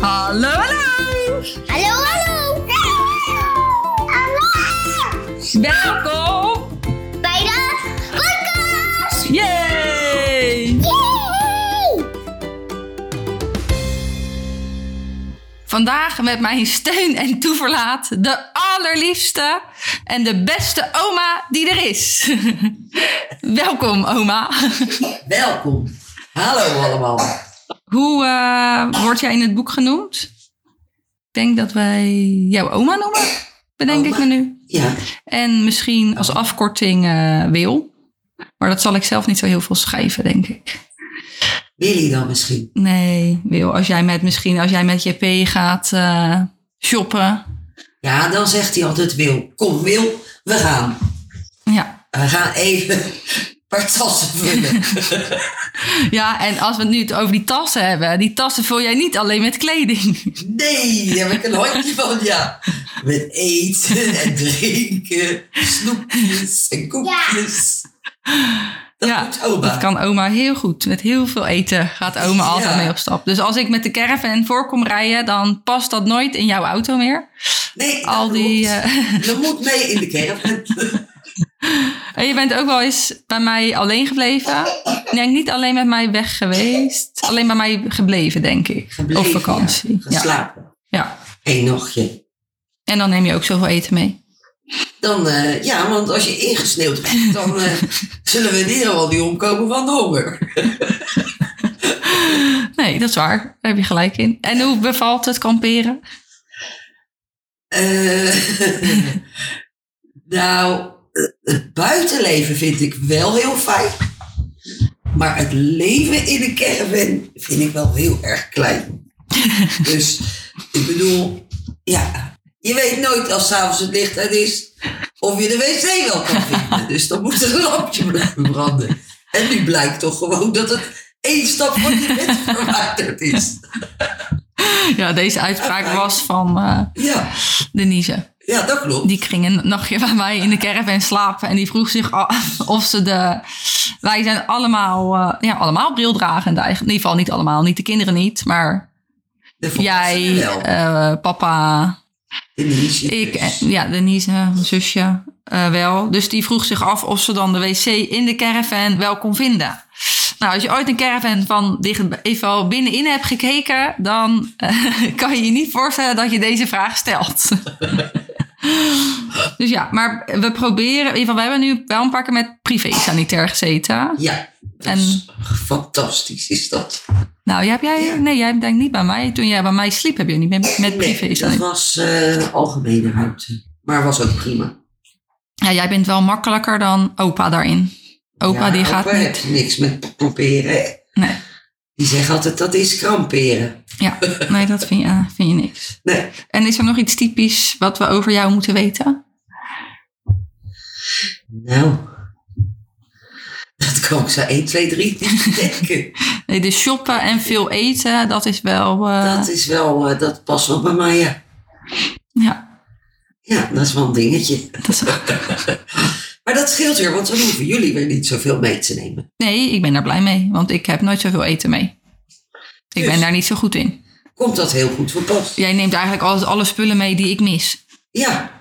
Hallo, hallo! Hallo, hallo! Hallo! Welkom! Bij de podcast! Yay! Yay! Vandaag met mijn steun en toeverlaat de allerliefste en de beste oma die er is. Welkom, oma. Welkom. Hallo allemaal. Hoe eh, word jij in het boek genoemd? Ik denk dat wij jouw oma noemen, bedenk ik me nu. Ja, En misschien als afkorting eh, Wil. Maar dat zal ik zelf niet zo heel veel schrijven, denk ik. Willy dan misschien. Nee, Wil, als jij met misschien als jij met JP gaat eh, shoppen. Ja, dan zegt hij altijd Wil. Kom Wil, we gaan. Ja. We gaan even een paar tassen vullen. ja, en als we het nu het over die tassen hebben. Die tassen vul jij niet alleen met kleding. Nee, daar heb ik een handje van, ja. Met eten en drinken, snoepjes en koekjes. Dat ja, doet oma. dat kan oma heel goed. Met heel veel eten gaat oma altijd Ja. mee op stap. Dus als ik met de caravan voor kom rijden, dan past dat nooit in jouw auto meer. nee, al dat die, eh, klopt. Je moet mee in de caravan. En je bent ook wel eens bij mij alleen gebleven. Ik denk niet alleen met mij weg geweest. Alleen bij mij gebleven, denk ik. Gebleven, op vakantie. Ja. ja. Geslapen. ja. Eén nachtje. En dan neem je ook zoveel eten mee. Dan, eh, ja, want als je ingesneeuwd bent, dan eh, zullen we hier al die omkomen van de honger. Nee, dat is waar. Daar heb je gelijk in. En hoe bevalt het kamperen? Eh, nou, het buitenleven vind ik wel heel fijn. Maar het leven in een caravan vind ik wel heel erg klein. dus ik bedoel, ja, je weet nooit als s'avonds het licht uit is of je de wc wel kan vinden. Dus dan moet er een lampje blijven branden. En nu blijkt toch gewoon dat het één stap van je bed verwijderd is. Ja, deze uitspraak was van eh Ja, Denise. ja, dat klopt. Die ging een nachtje bij mij in de caravan slapen. En die vroeg zich af of ze de... Wij zijn allemaal, eh, ja, allemaal brildragend eigenlijk. In ieder geval niet allemaal. Niet de kinderen niet. Maar De jij, volwassenen wel. eh, papa, Denise, Ik, dus. eh, ja, Denise, eh, mijn zusje eh, wel. Dus die vroeg zich af of ze dan de wc in de caravan wel kon vinden. Nou, als je ooit een caravan van dicht, even al binnenin hebt gekeken, dan eh, kan je je niet voorstellen dat je deze vraag stelt. dus ja, maar we proberen, in ieder geval, we hebben nu wel een paar keer met privé-sanitair gezeten. Ja, dat En- is fantastisch is dat. Nou, jij, heb jij, Ja. nee, jij denkt niet bij mij. Toen jij bij mij sliep, heb je niet met, met Nee, dat privé-sanitair. was eh, algemene ruimte. Maar was ook prima. Ja, jij bent wel makkelijker dan opa daarin. Opa, Ja, die gaat opa niet. heeft niks met proberen. Nee. Die zegt altijd dat is kramperen. Ja, nee, dat vind je, eh, vind je niks. Nee. En is er nog iets typisch wat we over jou moeten weten? Nou, dat kan ik zo 1, 2, 3 niet denken. Nee, dus shoppen en veel eten, dat is wel... eh, Dat is wel, eh, dat past wel bij mij, ja. Ja, Ja, dat is wel een dingetje. dat is... Maar dat scheelt weer, want dan hoeven jullie weer niet zoveel mee te nemen. Nee, ik ben daar blij mee, want ik heb nooit zoveel eten mee. Ik Dus- ben daar niet zo goed in. Komt dat heel goed voor pas? Jij neemt eigenlijk altijd alle spullen mee die ik mis. Ja,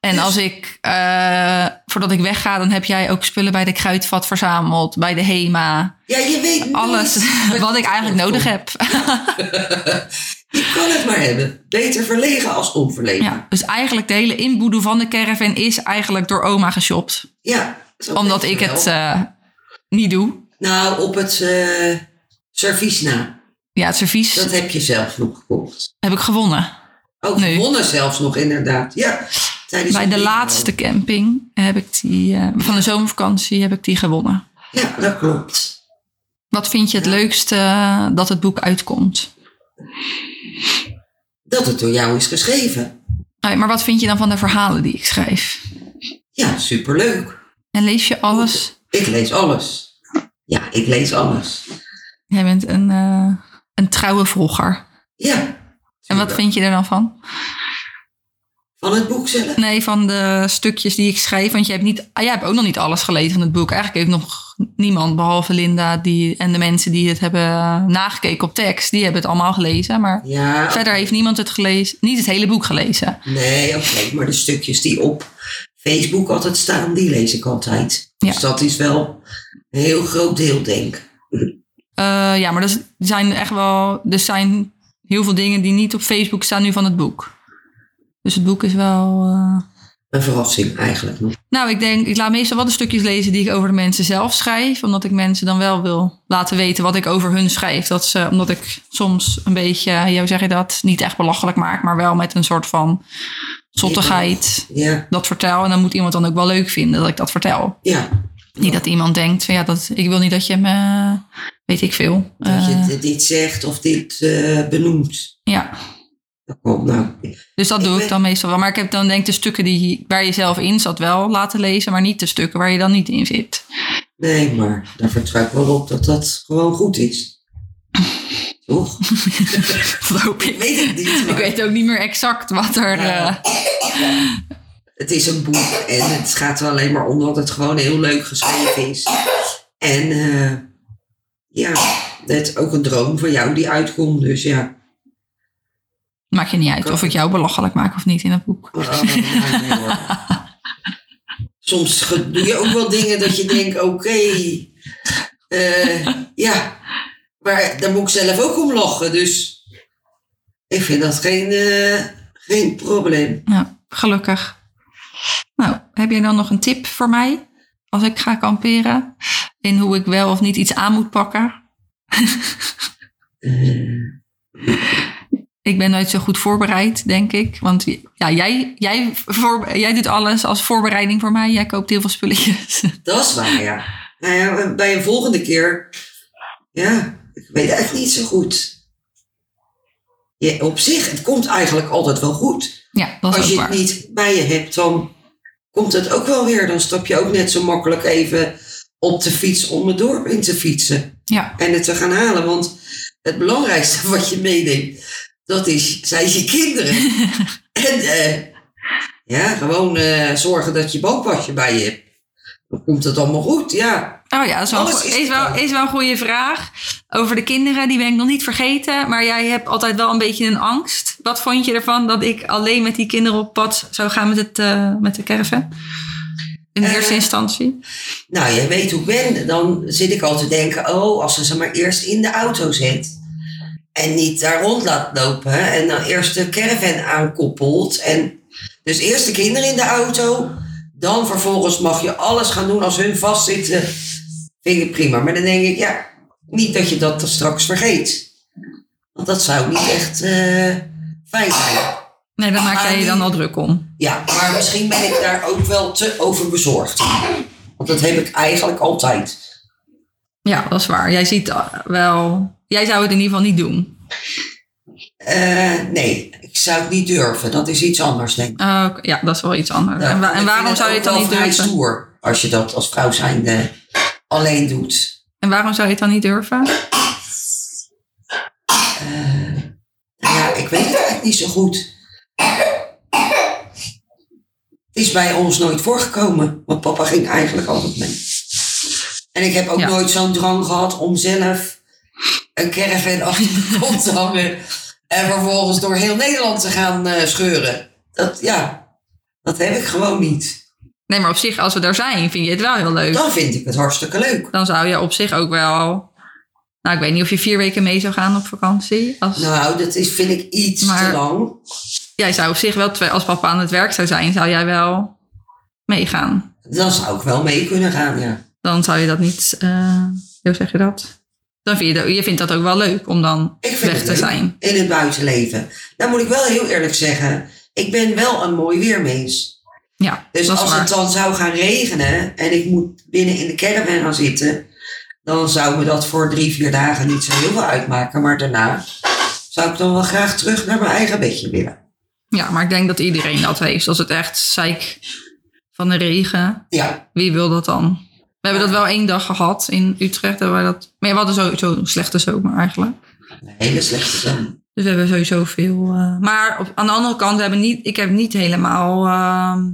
En Dus- als ik, eh, voordat ik wegga, dan heb jij ook spullen bij de kruidvat verzameld, bij de HEMA. ja je weet nooit Alles Dus- wat ik eigenlijk nodig heb. Je kan het maar hebben. Beter verlegen als onverlegen. Ja. Ja, dus eigenlijk de hele inboedel van de caravan is eigenlijk door oma geshopt. zo Omdat weet ik je het wel. eh, niet doe. Nou, op het eh servies na. Ja, het servies Dat heb je zelf nog gekocht. heb ik gewonnen. Ook Nee. gewonnen zelfs nog, inderdaad. Ja. tijdens Bij het de bingo. laatste camping heb ik die, eh, van de zomervakantie heb ik die gewonnen. Ja, dat klopt. Wat vind je het leukste eh, dat het boek uitkomt? Dat het door jou is geschreven. Nou ja, maar wat vind je dan van de verhalen die ik schrijf? Ja, superleuk. En lees je alles? Ik lees alles. Ja, ik lees alles. Jij bent een, eh, een trouwe volger. Ja. En wat vind je er dan van? Van het boek zelf? Nee, van de stukjes die ik schreef. Want jij hebt, niet, ah, jij hebt ook nog niet alles gelezen van het boek. Eigenlijk heeft nog niemand, behalve Linda die, en de mensen die het hebben eh, nagekeken op tekst, die hebben het allemaal gelezen. Maar Ja. verder heeft niemand het gelezen, niet het hele boek gelezen. Nee, oké. Maar de stukjes die op Facebook altijd staan, die lees ik altijd. Ja. Dus dat is wel een heel groot deel, denk ik. Eh, ja, maar dat is- er zijn echt wel. Er zijn heel veel dingen die niet op Facebook staan nu van het boek. Dus het boek is wel. eh, Een verrassing eigenlijk nog. Nou, ik denk, ik laat meestal wel de stukjes lezen die ik over de mensen zelf schrijf. Omdat ik mensen dan wel wil laten weten wat ik over hun schrijf. Dat ze, omdat ik soms een beetje, eh, hoe zeg je dat, niet echt belachelijk maak, maar wel met een soort van zottigheid Ja, dat vertel. En dan moet iemand dan ook wel leuk vinden dat ik dat vertel. ja. Niet dat iemand denkt van ja, dat, ik wil niet dat je me, weet ik veel. Dat eh, je d- dit zegt of dit eh, benoemt. ja, Dat komt nou. dus dat Ik doe ik ben- dan meestal wel. Maar ik heb dan denk ik de stukken die, waar je zelf in zat wel laten lezen, maar niet de stukken waar je dan niet in zit. Nee, maar daar vertrouw ik wel op dat dat gewoon goed is. Toch? Dat hoop ik. Weet ik niet. Ik maar weet ook niet meer exact wat er. Ja. eh, Het is een boek en het gaat er alleen maar om dat het gewoon heel leuk geschreven is. En eh, ja, het is ook een droom van jou die uitkomt. Dus ja. maakt je niet uit of ik jou belachelijk maak of niet in dat boek. Oh, oh, nee, hoor. Soms ge- doe je ook wel dingen dat je denkt, oké, eh, ja, maar daar moet ik zelf ook om lachen. Dus ik vind dat geen, eh, geen probleem. Nou, gelukkig. Nou, heb jij dan nog een tip voor mij? Als ik ga kamperen? In hoe ik wel of niet iets aan moet pakken? Eh. Ik ben nooit zo goed voorbereid, denk ik. Want ja, jij, jij, voor, jij doet alles als voorbereiding voor mij. Jij koopt heel veel spulletjes. Dat is waar, ja. Nou ja, bij een volgende keer, ja, ik weet echt niet zo goed. Ja, op zich, het komt eigenlijk altijd wel goed. Ja, dat is Als ook je het waar. niet bij je hebt, dan komt het ook wel weer. Dan stap je ook net zo makkelijk even op de fiets om het dorp in te fietsen Ja, en het te gaan halen. Want het belangrijkste wat je meeneemt, dat is, zijn je kinderen. en eh, ja, gewoon eh, zorgen dat je bankpasje bij je hebt. Dan komt het allemaal goed, ja. Oh ja, dat is wel, een Alles goe- is is, te wel, koop. is wel een goede vraag. Over de kinderen, die ben ik nog niet vergeten. Maar jij hebt altijd wel een beetje een angst. Wat vond je ervan dat ik alleen met die kinderen op pad zou gaan met, het, eh, met de caravan? In Eh, eerste instantie. Nou, jij weet hoe ik ben. Dan zit ik al te denken, oh, als ze ze maar eerst in de auto zet. En niet daar rond laat lopen. En dan eerst de caravan aankoppelt. En dus eerst de kinderen in de auto. Dan vervolgens mag je alles gaan doen als hun vastzitten. Vind ik prima. Maar dan denk ik, ja, niet dat je dat dan straks vergeet. Want dat zou niet echt eh, fijn zijn. Nee, daar maak jij je dan al ah, die- druk om. Ja, maar misschien ben ik daar ook wel te over bezorgd. Want dat heb ik eigenlijk altijd. Ja, dat is waar. Jij ziet eh, wel. Jij zou het in ieder geval niet doen. Eh, nee, ik zou het niet durven. Dat is iets anders, denk ik. Eh, oké, ja, dat is wel iets anders. Ja, en, wa- ik en vind waarom zou je het ook dan wel niet vrij durven? stoer als je dat als vrouw zijnde alleen doet. En waarom zou je het dan niet durven? Ja, ik weet het eigenlijk niet zo goed. Het is bij ons nooit voorgekomen, want papa ging eigenlijk altijd mee. En ik heb ook Ja. nooit zo'n drang gehad om zelf een caravan achter de kont te hangen en vervolgens door heel Nederland te gaan eh, scheuren. Dat, ja, dat heb ik gewoon niet. Nee, maar op zich, als we daar zijn, vind je het wel heel leuk. Dan vind ik het hartstikke leuk. dan zou je op zich ook wel. Nou, ik weet niet of je vier weken mee zou gaan op vakantie. Als, Nou, dat is, vind ik iets Maar- te lang. Jij zou op zich wel, twee- als papa aan het werk zou zijn, zou jij wel meegaan. Dan zou ik wel mee kunnen gaan, ja. Dan zou je dat niet. eh, hoe zeg je dat? Dan vind je, dat- je vindt dat ook wel leuk om dan Ik vind weg het te leuk. zijn. In het buitenleven. Nou moet ik wel heel eerlijk zeggen, ik ben wel een mooi weermens. Ja, Dus dat is als waar. het dan zou gaan regenen en ik moet binnen in de caravan gaan zitten, dan zou me dat voor drie, vier dagen niet zo heel veel uitmaken. Maar daarna zou ik dan wel graag terug naar mijn eigen bedje willen. Ja, maar ik denk dat iedereen dat heeft. Als het echt zeik van de regen, Ja, wie wil dat dan? We hebben dat wel één dag gehad in Utrecht. hebben we Dat, maar ja, we hadden sowieso een slechte zomer eigenlijk. een hele slechte zomer. Dus we hebben sowieso veel. eh, maar op- aan de andere kant, we hebben niet, ik heb niet helemaal uh,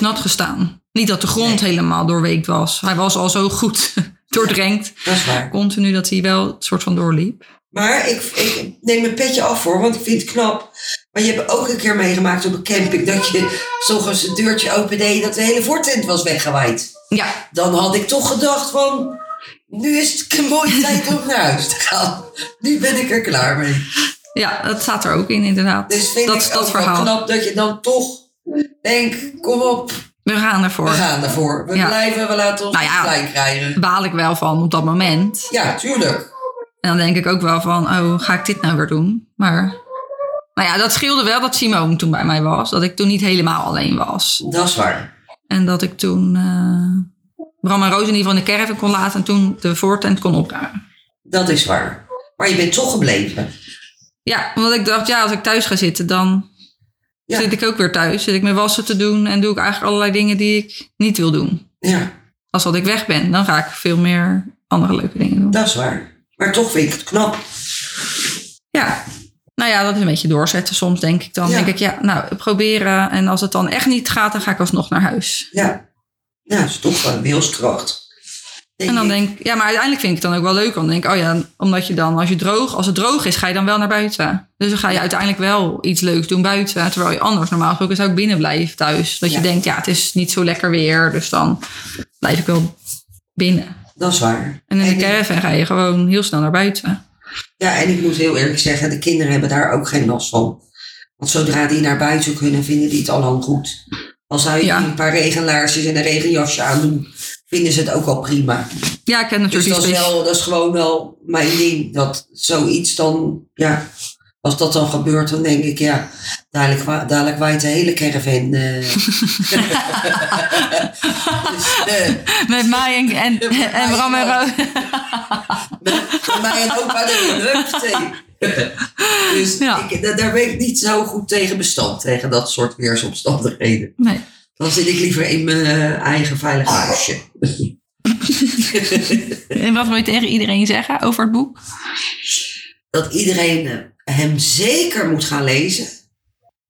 nat gestaan. Niet dat de grond helemaal doorweekt was. Hij was al zo goed doordrenkt. Dat is waar. Continu dat hij wel het soort van doorliep. Maar ik, ik neem mijn petje af voor, want ik vind het knap. Maar je hebt ook een keer meegemaakt op een camping dat je soms een deurtje opendeed dat de hele voortent was weggewaaid. Ja, Dan had ik toch gedacht van, nu is het een mooie tijd om naar huis te gaan. Nu ben ik er klaar mee. ja, dat staat er ook in inderdaad. Dus vind dat ik is ook dat wel verhaal. knap dat je dan toch denkt, kom op, We gaan ervoor. we gaan ervoor. We Ja. blijven, we laten ons Nou ja. niet klein krijgen. Baal ik wel van op dat moment. Ja, tuurlijk. En dan denk ik ook wel van, oh, ga ik dit nou weer doen? Maar, nou ja, dat scheelde wel dat Simone toen bij mij was. Dat ik toen niet helemaal alleen was. Dat is waar. En dat ik toen eh, Bram en Roos in ieder geval in de caravan kon laten. En toen de voortent kon opruimen. Dat is waar. Maar je bent toch gebleven. Ja, omdat ik dacht, ja, als ik thuis ga zitten, dan Ja. zit ik ook weer thuis. Zit ik mijn wassen te doen en doe ik eigenlijk allerlei dingen die ik niet wil doen. Ja. Als dat ik weg ben, dan ga ik veel meer andere leuke dingen doen. Dat is waar. Maar toch vind ik het knap. Ja. Nou ja, dat is een beetje doorzetten soms, denk ik dan. Ja. denk ik, ja, nou, proberen. En als het dan echt niet gaat, dan ga ik alsnog naar huis. Ja. Ja, dat is toch wel wilskracht. En dan denk ik, ja, maar uiteindelijk vind ik het dan ook wel leuk. Want dan denk ik, oh ja, omdat je dan, als, je droog, als het droog is, ga je dan wel naar buiten. Dus dan ga je uiteindelijk wel iets leuks doen buiten. Terwijl je anders normaal gesproken zou ik binnen blijven thuis. Dat Ja. je denkt, ja, het is niet zo lekker weer. Dus dan blijf ik wel binnen. Dat is waar. En in de ik- caravan ga je gewoon heel snel naar buiten. Ja, en ik moet heel eerlijk zeggen, de kinderen hebben daar ook geen last van. Want zodra die naar buiten kunnen, vinden die het al lang goed. Al zou je Ja. die een paar regenlaarsjes en een regenjasje aandoen, vinden ze het ook al prima. Ja, ik heb Dus natuurlijk dat is, die specie- wel, dat is gewoon wel mijn ding. Dat zoiets dan, ja, als dat dan gebeurt, dan denk ik, ja, dadelijk, wa- dadelijk waait de hele caravan. eh. dus, eh, met mij en, en, Met en mij Bram en ook. Roos. Voor mij en opa de Dus Ja. ik, da- daar ben ik niet zo goed tegen bestand, tegen dat soort weersomstandigheden. Nee. Dan zit ik liever in mijn eh, eigen veilig huisje. En wat wil je tegen iedereen zeggen over het boek? Dat iedereen eh, hem zeker moet gaan lezen.